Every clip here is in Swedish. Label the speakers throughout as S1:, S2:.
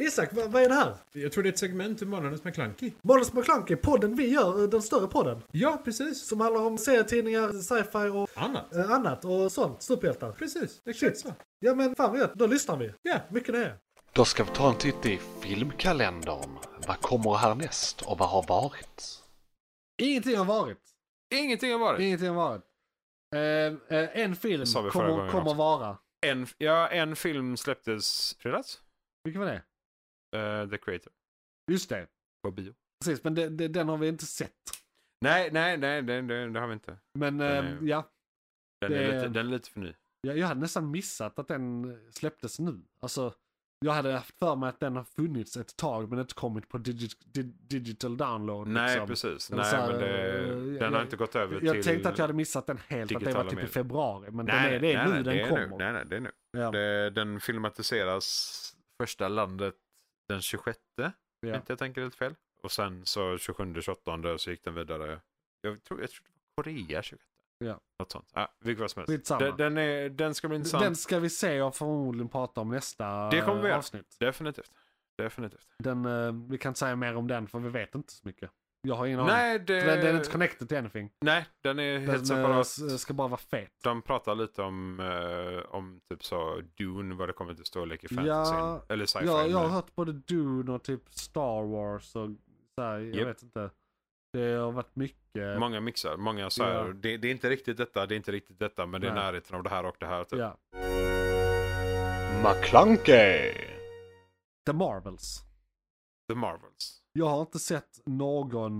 S1: Isak, vad, vad är det här?
S2: Jag tror det är ett segment ur Månadens McKlunky.
S1: Måns McClunky, podden vi gör, eh, den större podden.
S2: Ja, precis.
S1: Som handlar om serietidningar, sci-fi och
S2: Annat.
S1: eh, annat och sånt. Superhjältar.
S2: Precis, exakt
S1: Shit.
S2: så.
S1: Ja men fan vad gött, då lyssnar vi.
S2: Ja.
S1: Mycket nöje.
S3: Då ska vi ta en titt i filmkalendern. Vad kommer härnäst och vad har varit?
S4: Ingenting har varit.
S5: Ingenting har varit.
S4: Ingenting har varit. Eh, eh, en film
S5: Det sa vi förra
S4: kommer,
S5: gången
S4: kommer
S5: också.
S4: vara.
S5: En, ja, en film släpptes fredags.
S4: Vilken var det?
S5: Eh, The Creator.
S4: Just det.
S5: På bio.
S4: Precis, men det, det, den har vi inte sett.
S5: Nej, nej, nej, det, det, det har vi inte.
S4: Men
S5: Den
S4: eh,
S5: är-
S4: ja,
S5: Den, är
S4: Det-
S5: lite, den är lite för ny.
S4: jag, jag hade nästan missat att den släpptes nu. Alltså, jag hade haft för mig att den har funnits ett tag men inte kommit på digi- di- digital download.
S5: Nej,
S4: liksom.
S5: precis.
S4: Eller
S5: Nej,
S4: så här,
S5: men det,
S4: eh,
S5: den
S4: jag-
S5: har inte gått över
S4: Jag
S5: till...
S4: tänkte att jag hade missat den helt, att det var
S5: digitala
S4: typ i
S5: medier.
S4: februari. Men den är, det är nu
S5: det
S4: den
S5: är
S4: kommer.
S5: Nu, nej, nej, det är nu.
S4: Ja,
S5: Det, den filmatiseras första landet den 26.
S4: ja.
S5: Inte jag tänker helt fel. Och sen så 27, 28 så gick den vidare. Jag tror, jag tror det var Korea 26.
S4: Ja.
S5: Något sånt. Ja, vilket var som helst.
S4: Skitsamma.
S5: Den, den, är, den ska bli intressant.
S4: Den ska vi se och förmodligen prata om nästa
S5: Det kommer vi göra.
S4: avsnitt.
S5: Definitivt. Definitivt.
S4: Den, eh, vi kan inte säga mer om den för vi vet inte så mycket. Jag har ingen aning.
S5: Nej, det,
S4: För Den, den är inte connected till anything.
S5: nej, den är
S4: Den
S5: helt
S4: eh,
S5: separat.
S4: s- ska bara vara fet.
S5: De pratar lite om, eh, om typ så Dune, vad det kommer till storlek i
S4: Ja,
S5: fantasy. eller sci-fi.
S4: Jag, jag har
S5: men-
S4: hört både Dune och typ Star Wars och så här, jag
S5: Japp.
S4: vet inte. Det har varit mycket.
S5: Många mixar, många så här,
S4: Ja.
S5: det, det är inte riktigt detta, det är inte riktigt detta, men det är
S4: Nej.
S5: närheten av det här och det här. Typ.
S4: ja.
S3: McClunkey!
S4: The Marvels.
S5: The Marvels.
S4: Jag har inte sett någon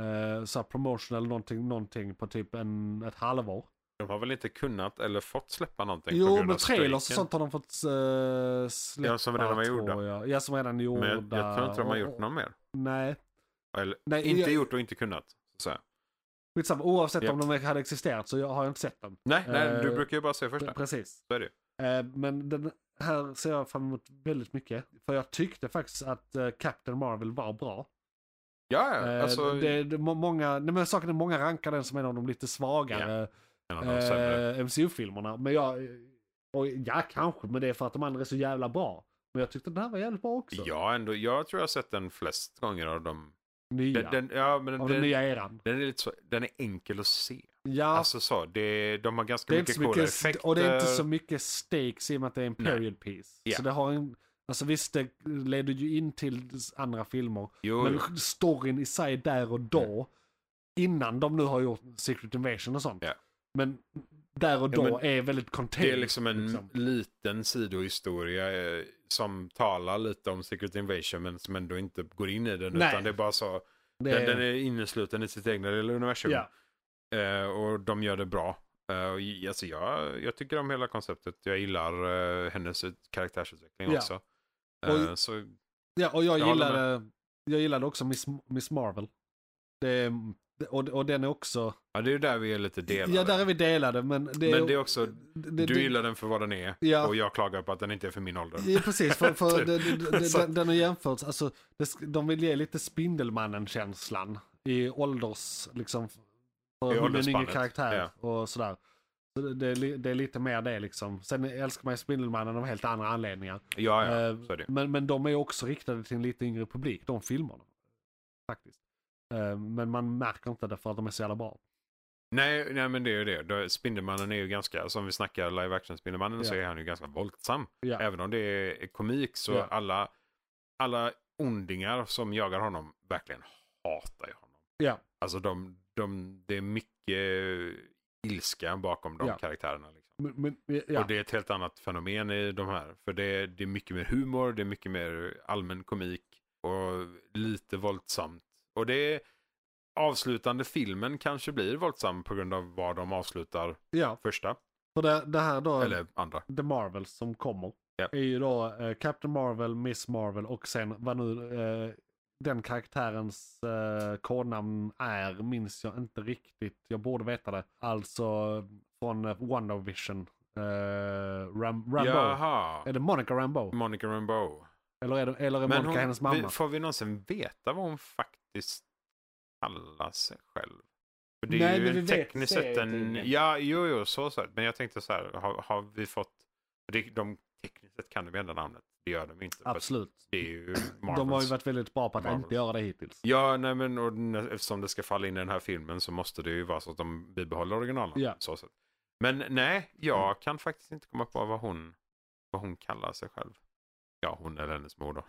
S4: eh, så här promotion eller någonting, någonting på typ en, ett halvår.
S5: De har väl inte kunnat eller fått släppa någonting på
S4: jo,
S5: grund
S4: men
S5: av
S4: trailers och
S5: strejken.
S4: sånt har de fått eh, släppa.
S5: Ja, som redan var
S4: tror
S5: gjorda.
S4: Jag. Ja, som redan är gjorda.
S5: Men jag, jag tror inte de har
S4: och-
S5: gjort något mer.
S4: Nej.
S5: Eller,
S4: Nej,
S5: inte
S4: jag-
S5: gjort och inte kunnat. Så att säga.
S4: Skitsamma, oavsett
S5: Japp.
S4: om de hade existerat så jag, har jag inte sett dem.
S5: Nej, nej, du
S4: Eh,
S5: brukar ju bara se första.
S4: Precis.
S5: Så är det ju.
S4: Eh, men den här ser jag fram emot väldigt mycket. För jag tyckte faktiskt att eh, Captain Marvel var bra.
S5: Ja, ja,
S4: Eh,
S5: alltså.
S4: det, det, må- många, nej, men saken är många rankar den som en av de lite svagare
S5: en av de sämre.
S4: eh, MCU-filmerna. Men jag, och, ja kanske, men det är för att de andra är så jävla bra. Men jag tyckte den här var jävligt bra också.
S5: Ja, ändå. Jag tror jag har sett den flest gånger av dem.
S4: Nya.
S5: Den, den, ja, men
S4: av
S5: den,
S4: den nya eran.
S5: den, är lite så, den är enkel att se.
S4: Ja,
S5: Alltså så, det, de har ganska
S4: det är inte så
S5: mycket coola
S4: mycket,
S5: effekter.
S4: och det är inte så mycket stakes i och med att det är en
S5: Nej.
S4: period piece.
S5: Ja.
S4: Så det har en, alltså visst det leder ju in till andra filmer.
S5: Jo, jo.
S4: Men storyn i sig där och då, innan de nu har gjort Secret Invasion och sånt.
S5: Ja.
S4: Men där och
S5: Ja,
S4: då
S5: men
S4: är väldigt contained.
S5: Det är liksom en
S4: liksom.
S5: liten sidohistoria eh, som talar lite om Secret Invasion men som ändå inte går in i den
S4: Nej.
S5: utan det är bara så.
S4: Det
S5: Den,
S4: är-
S5: den är innesluten i sitt egna lilla universum.
S4: ja.
S5: Eh, och de gör det bra. Eh, och, j- alltså, jag, jag tycker om hela konceptet. Jag gillar eh, hennes ut- karaktärsutveckling
S4: Ja.
S5: också.
S4: Och-
S5: Eh, så,
S4: ja, och jag,
S5: Jag håller
S4: gillade, jag gillade också Miss, Miss Marvel. Det är, och, och den är också,
S5: ja, det är ju där vi är lite delade.
S4: ja där är vi delade men det
S5: Men det är också,
S4: det-
S5: du
S4: det-
S5: gillar den för vad den är
S4: Ja.
S5: och jag klagar på att den inte är för min ålder.
S4: Ja, precis, för, för
S5: Typ.
S4: det, det, det,
S5: Så att-
S4: den, den har jämförts, alltså, det, sk- de vill ge lite Spindelmannen-känslan i ålders, liksom,
S5: I
S4: för hon är en yngre
S5: åldersspannet,
S4: karaktär och sådär. Så det, det, är li- det är lite mer det liksom. Sen älskar man ju Spindelmannen av helt andra anledningar.
S5: Ja, ja,
S4: Eh,
S5: så är det.
S4: men, men de är också riktade till en lite yngre publik, de filmerna. Faktiskt. Eh, Men man märker inte det för att de är så jävla bra.
S5: Nej, nej, men det är ju det. Då- Spindelmannen är ju ganska, som vi snackar live action Spindelmannen så
S4: Ja.
S5: är han ju ganska våldsam.
S4: Ja.
S5: Även om det är komik så
S4: Ja.
S5: alla, alla ondingar som jagar honom verkligen hatar ju honom.
S4: Ja.
S5: Alltså de, de, det är mycket ilska bakom de
S4: Ja.
S5: karaktärerna. Liksom.
S4: Men, men, ja.
S5: Och det är ett helt annat fenomen i de här. För det är, det är mycket mer humor, det är mycket mer allmän komik och lite våldsamt. Och det är avslutande filmen kanske blir våldsam på grund av vad de avslutar
S4: ja.
S5: första
S4: För det, det här då...
S5: eller andra.
S4: The Marvels som kommer
S5: Ja.
S4: är ju då eh, Captain Marvel, Miss Marvel och sen vad nu eh, den karaktärens eh, kodnamn är minns jag inte riktigt. Jag borde veta det. Alltså från eh, WandaVision. Eh, Ram- Rambo.
S5: Jaha,
S4: Är det Monica Rambo?
S5: Monica Rambeau.
S4: Eller är, det, eller är Monica
S5: Mm. hon,
S4: hennes mamma?
S5: vi- får vi någonsin veta vad hon faktiskt kallar sig själv? För det är
S4: Nej,
S5: ju
S4: men vi
S5: en
S4: vet
S5: tekniskt sett en...
S4: serietidningen.
S5: Ja, jo, jo, så sett. Men jag tänkte så här, har, har vi fått... det- De tekniskt sett kan de ändra namnet. Det gör de inte. för att
S4: Absolut.
S5: Det är ju
S4: De har ju
S5: Marvels.
S4: varit väldigt bra på att
S5: Marvels.
S4: inte göra det hittills.
S5: Ja, nej, men och, nä- eftersom det ska falla in i den här filmen så måste det ju vara så att de bibehåller originalen.
S4: Ja. Mm.
S5: Så sätt. Men nej, jag kan faktiskt inte komma på vad hon, vad hon kallar sig själv. Ja, hon eller hennes mor då.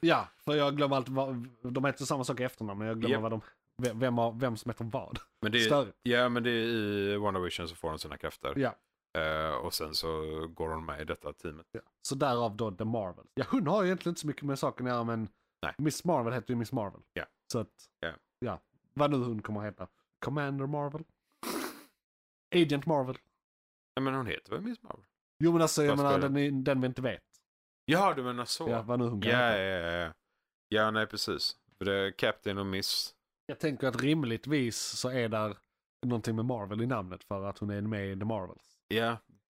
S4: Ja, för jag glömmer allt. Vad, de heter samma sak i efternamn, men jag glömmer
S5: Japp.
S4: vad de, vem, vem, har, vem som heter vad.
S5: Men det är,
S4: Större.
S5: ja, men det är i WandaVision så får hon sina krafter.
S4: Ja.
S5: Eh, och sen så går hon med i detta teamet.
S4: Så därav då The Marvel. Ja, hon har ju egentligen inte så mycket med saken att göra, men
S5: Nej.
S4: Miss Marvel heter ju Miss Marvel.
S5: Ja.
S4: Så att,
S5: Ja.
S4: ja. Vad nu hon kommer att heta. Commander Marvel. Agent Marvel.
S5: Nej, men hon heter väl Miss Marvel?
S4: Jo men alltså, jag
S5: Fast
S4: menar
S5: det-
S4: den, är- den vi inte vet.
S5: Ja, du menar så.
S4: Ja, vad nu hon kan
S5: Ja, ja,
S4: heta.
S5: ja, ja. ja, nej precis. För det är Captain och Miss.
S4: Jag tänker att rimligtvis så är där någonting med Marvel i namnet för att hon är med i The Marvels.
S5: Ja,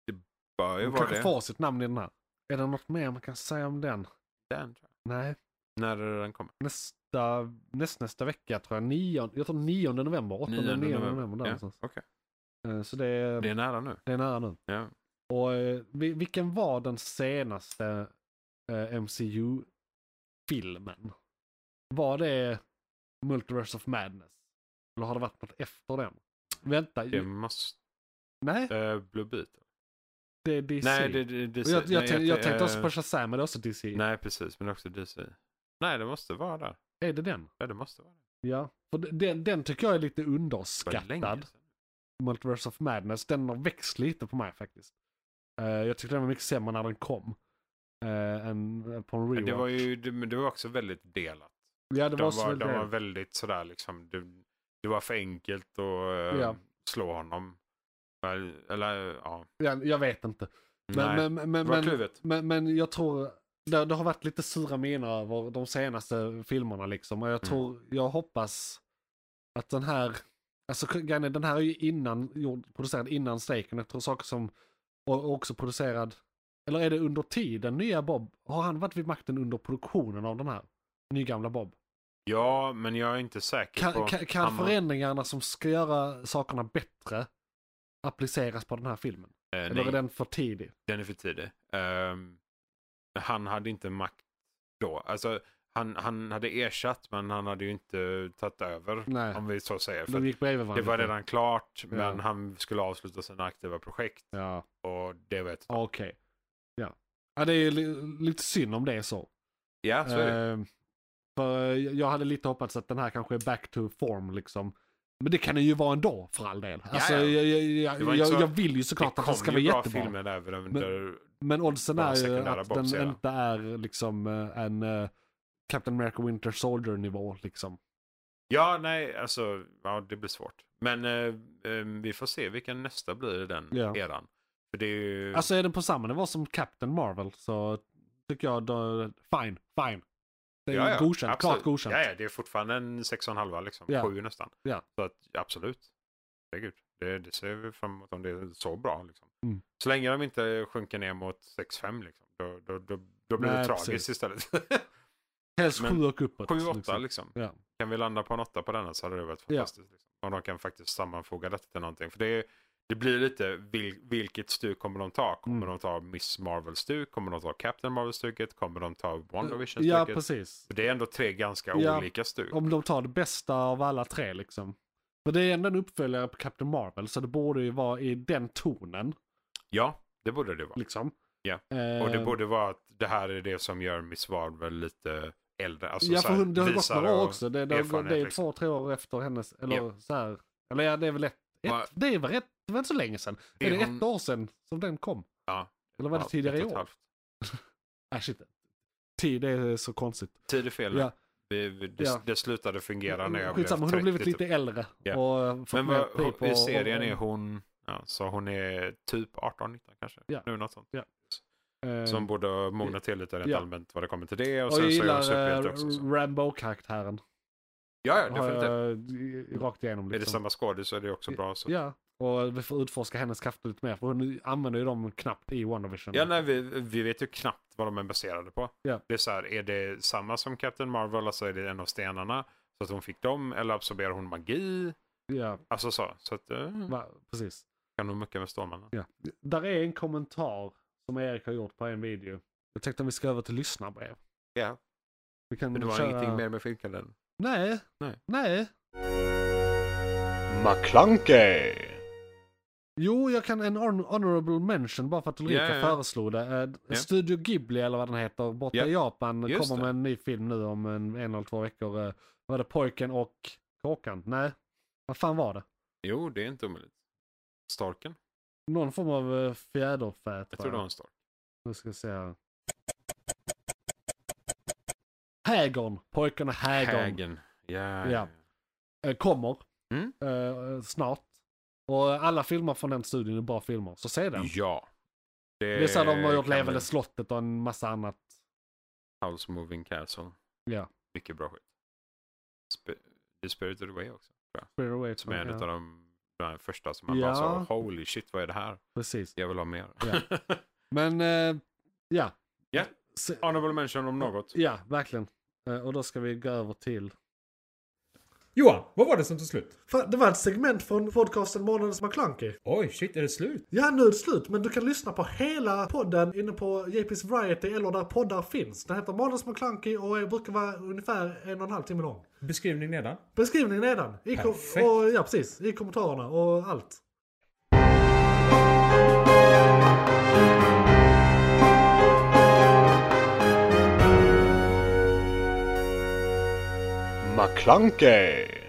S5: det bör ju
S4: Hon
S5: vara
S4: kanske
S5: det.
S4: får sitt namn i den här. Är det något mer man kan säga om den?
S5: Den, tror
S4: Nej.
S5: jag. När är det den kommer?
S4: Nästa, näst, nästa vecka tror jag. Nion, jag tror 9 november. 8 9
S5: Nionde
S4: november. november där
S5: Ja,
S4: någonstans.
S5: okej.
S4: Eh, Så det är,
S5: Det är nära nu.
S4: det är nära nu.
S5: Ja.
S4: Och eh, vi- vilken var den senaste eh, MCU-filmen? Var det Multiverse of Madness? Eller har det varit något efter den? Vänta,
S5: Det måste...
S4: nej
S5: Äh, Bluebeat?
S4: det är DC.
S5: Nej, det, det, det,
S4: Och jag, jag,
S5: nej,
S4: tänk, jag tänkte
S5: eh,
S4: också på Shazam, men det är också DC.
S5: Nej, precis. Men också DC. Nej, det måste vara där.
S4: Är det den?
S5: Ja, det måste vara där.
S4: Ja. För d- den, den tycker jag är lite
S5: Det var länge
S4: underskattad.
S5: sedan.
S4: Multiverse of Madness, den har växt lite på mig faktiskt. Eh, jag tyckte den var mycket sämre när den kom. eh, än på en
S5: Men
S4: rewatch.
S5: Det var ju det, men det var också väldigt delat.
S4: ja, det
S5: De
S4: var,
S5: var,
S4: så väl
S5: de
S4: det.
S5: var väldigt sådär liksom. Det, det var för enkelt att eh,
S4: Ja.
S5: slå honom. Eller, eller ja.
S4: Ja, jag vet inte. Men,
S5: nej.
S4: men, men,
S5: det
S4: men,
S5: var
S4: men,
S5: kluvet.
S4: men, men jag tror det, det har varit lite sura miner över de senaste filmerna liksom. Och jag
S5: Mm.
S4: tror, jag hoppas att den här, alltså grejen är, den här är ju innan, gjord, producerad innan strejken. Jag tror saker som, och och också producerad, eller är det under tiden nya Bob, har han varit vid makten under produktionen av den här? Nygamla Bob.
S5: Ja, men jag är inte säker på...
S4: Kan,
S5: eh,
S4: kan, kan
S5: han var-
S4: förändringarna som ska göra sakerna bättre appliceras på den här filmen?
S5: Eh,
S4: Eller
S5: nej.
S4: är den för tidig?
S5: Den är för tidig. Ehm, han hade inte makt då. Alltså, han, han hade ersatt men han hade ju inte tagit över.
S4: Nej.
S5: Om vi så säger. För
S4: De
S5: att
S4: gick bredvid
S5: det
S4: varandra.
S5: var
S4: lite.
S5: redan klart men
S4: Ja.
S5: han skulle avsluta sina aktiva projekt.
S4: Ja,
S5: Och det vet jag.
S4: okej. Ja. ja, det är li- lite synd om det är så.
S5: Ja, så är det.
S4: Eh, för eh, jag hade lite hoppats att den här kanske är back to form liksom. Men det kan den ju vara ändå för all del. Alltså,
S5: ja.
S4: jag, jag, jag,
S5: Det var
S4: jag,
S5: inte så-
S4: jag vill ju såklart att den ska vara jättebra.
S5: filmer där. Men,
S4: Men-
S5: där
S4: Men oddsen
S5: Bara
S4: är ju
S5: sekundära
S4: att den
S5: boxar, ja.
S4: inte är liksom eh, en eh, Captain America Winter Soldier nivå liksom.
S5: ja, nej, alltså ja, det blir svårt. Men eh, eh, vi får se vilken nästa blir i den
S4: Ja.
S5: eran. För det är ju...
S4: Alltså är den på samma nivå som Captain Marvel så tycker jag då, fine, fine. Det är
S5: Ja, ja,
S4: godkänt,
S5: absolut.
S4: klart godkänt.
S5: Ja, ja, det är fortfarande en 6,5 liksom.
S4: Ja.
S5: 7 nästan.
S4: Ja.
S5: Så att absolut. Herregud. Det, det ser vi fram emot om det är så bra. Liksom.
S4: Mm.
S5: Så länge de inte sjunker ner mot 6,5 liksom. Då, då, då, då blir
S4: Nej,
S5: det tragiskt
S4: precis.
S5: istället.
S4: Helst
S5: Men-
S4: sju och uppåt.
S5: 7-8 liksom.
S4: liksom. Ja.
S5: Kan vi landa på en 8 på denna så hade det varit
S4: Ja.
S5: fantastiskt. Liksom. Om de kan faktiskt sammanfoga detta till någonting. För det, är- det blir lite vil, vilket stuk kommer de ta? Kommer
S4: Mm.
S5: de ta Miss Marvel-stuk? Kommer de ta Captain Marvel-stuket? Kommer de ta WandaVision-stuket?
S4: Ja, precis.
S5: För Det är ändå tre ganska
S4: Ja.
S5: olika stuk.
S4: Om de tar det bästa av alla tre liksom. För det är ändå en uppföljare på Captain Marvel så det borde ju vara i den tonen
S5: Ja, det borde det vara.
S4: liksom.
S5: Ja,
S4: Eh,
S5: Och det borde vara att det här är det som gör Miss Marvel lite äldre. Alltså,
S4: ja,
S5: så
S4: för
S5: här,
S4: hon, det har gått
S5: visar
S4: några år
S5: och-
S4: också. Det, det, har gått- det är
S5: erfarenhet, liksom.
S4: två, tre år efter hennes, eller
S5: Ja.
S4: så här. Eller ja, det är väl ett,
S5: Va-
S4: ett det är väl rätt, det var inte så länge sedan.
S5: Det
S4: är det
S5: hon-
S4: ett år sedan som den kom?
S5: Ja.
S4: Eller var det
S5: Ja,
S4: tidigare
S5: ett
S4: i
S5: och ett
S4: år?
S5: halvt.
S4: Nej, shit. Tid är så konstigt.
S5: Tid är fel.
S4: Ja.
S5: Vi, vi, det,
S4: Ja.
S5: det slutade fungera när jag
S4: Skitsamma, hon har
S5: 30
S4: blivit lite
S5: typ.
S4: äldre.
S5: Ja.
S4: Och eh, fått
S5: Men
S4: mer
S5: vad,
S4: tid på-
S5: i serien
S4: och-
S5: är hon, ja, så hon är typ 18-19 kanske.
S4: Ja.
S5: Nu något sånt.
S4: eh,
S5: Så hon borde ha mognat till lite rent
S4: ja.
S5: allmänt vad det kommer till det. Och,
S4: Och
S5: sen
S4: jag
S5: så är hon
S4: gillar
S5: superhjälte
S4: eh,
S5: också. Så.
S4: Rambo-karaktären.
S5: Ja, ja,
S4: Har
S5: definitivt.
S4: jag, eh, Rakt igenom
S5: Är det
S4: liksom.
S5: samma skådis så är det också bra. Så.
S4: Ja, och vi får utforska hennes krafter lite mer. För hon använder ju dem knappt i WandaVision.
S5: Ja, nej, vi, vi vet ju knappt vad de är baserade på.
S4: Ja.
S5: Det är så här, är det samma som Captain Marvel, alltså är det en av stenarna så att hon fick dem, eller absorberar hon magi?
S4: ja
S5: Alltså så, så att eh,
S4: Mm. va, precis. Mm,
S5: kan hon mucka med Stålmannen.
S4: Där är en kommentar Som Erik har gjort på en video. Jag tänkte att vi ska över till lyssnarbrev.
S5: Ja.
S4: Vi kan
S5: Men det var
S4: köra...
S5: ingenting mer med filmkalendern.
S4: Nej.
S5: Nej.
S4: Nej.
S3: McClunkey!
S4: Jo, jag kan en hon- honorable mention bara för att Ulrika
S5: Ja, ja, ja.
S4: föreslog det. Eh,
S5: Ja.
S4: Studio Ghibli eller vad den heter borta
S5: Ja.
S4: i Japan
S5: Just
S4: kommer
S5: det.
S4: med en ny film nu om en, en eller två veckor. Eh, Var det Pojken och Kråkan? Nej, vad fan var det?
S5: Jo, det är inte omöjligt. Starken?
S4: Någon form av eh, fjäderfä
S5: Jag tror
S4: tror
S5: det var
S4: jag.
S5: en stark.
S4: Nu ska jag se här. Hägern, Pojken och Hägern.
S5: Hägen. Ja.
S4: Ja. eh, kommer
S5: Mm.
S4: eh, snart. Och alla filmer från den studien är bra filmer, så se den.
S5: ja.
S4: Det är så här, de har gjort
S5: kan
S4: Levande
S5: vi-
S4: slottet och en massa annat.
S5: House Moving Castle.
S4: Ja.
S5: Mycket bra skit. Sp- The Spirited Away också. Tror jag.
S4: Spirit Away,
S5: Som är en
S4: ja.
S5: utav de, de första som man
S4: Ja.
S5: bara sa Holy shit, vad är det här?
S4: Precis.
S5: Jag vill ha mer.
S4: Ja. Men eh, ja.
S5: Ja.
S4: Se-
S5: Honorable mention om något.
S4: ja, verkligen. Eh, och då ska vi gå över till.
S2: Johan, vad var det som tog slut?
S1: Fan, det var ett segment från podcasten Månadens McKlunky.
S2: Oj, shit, är det slut?
S1: Ja, nu är det slut, men du kan lyssna på hela podden inne på JP's Variety eller där poddar finns. Den heter Månadens McKlunky och är- brukar vara ungefär en och en halv timme lång.
S2: Beskrivning nedan.
S1: Beskrivningen nedan. I kom-
S2: Perfekt.
S1: och, ja, precis. I kommentarerna och allt.
S3: McClunkey!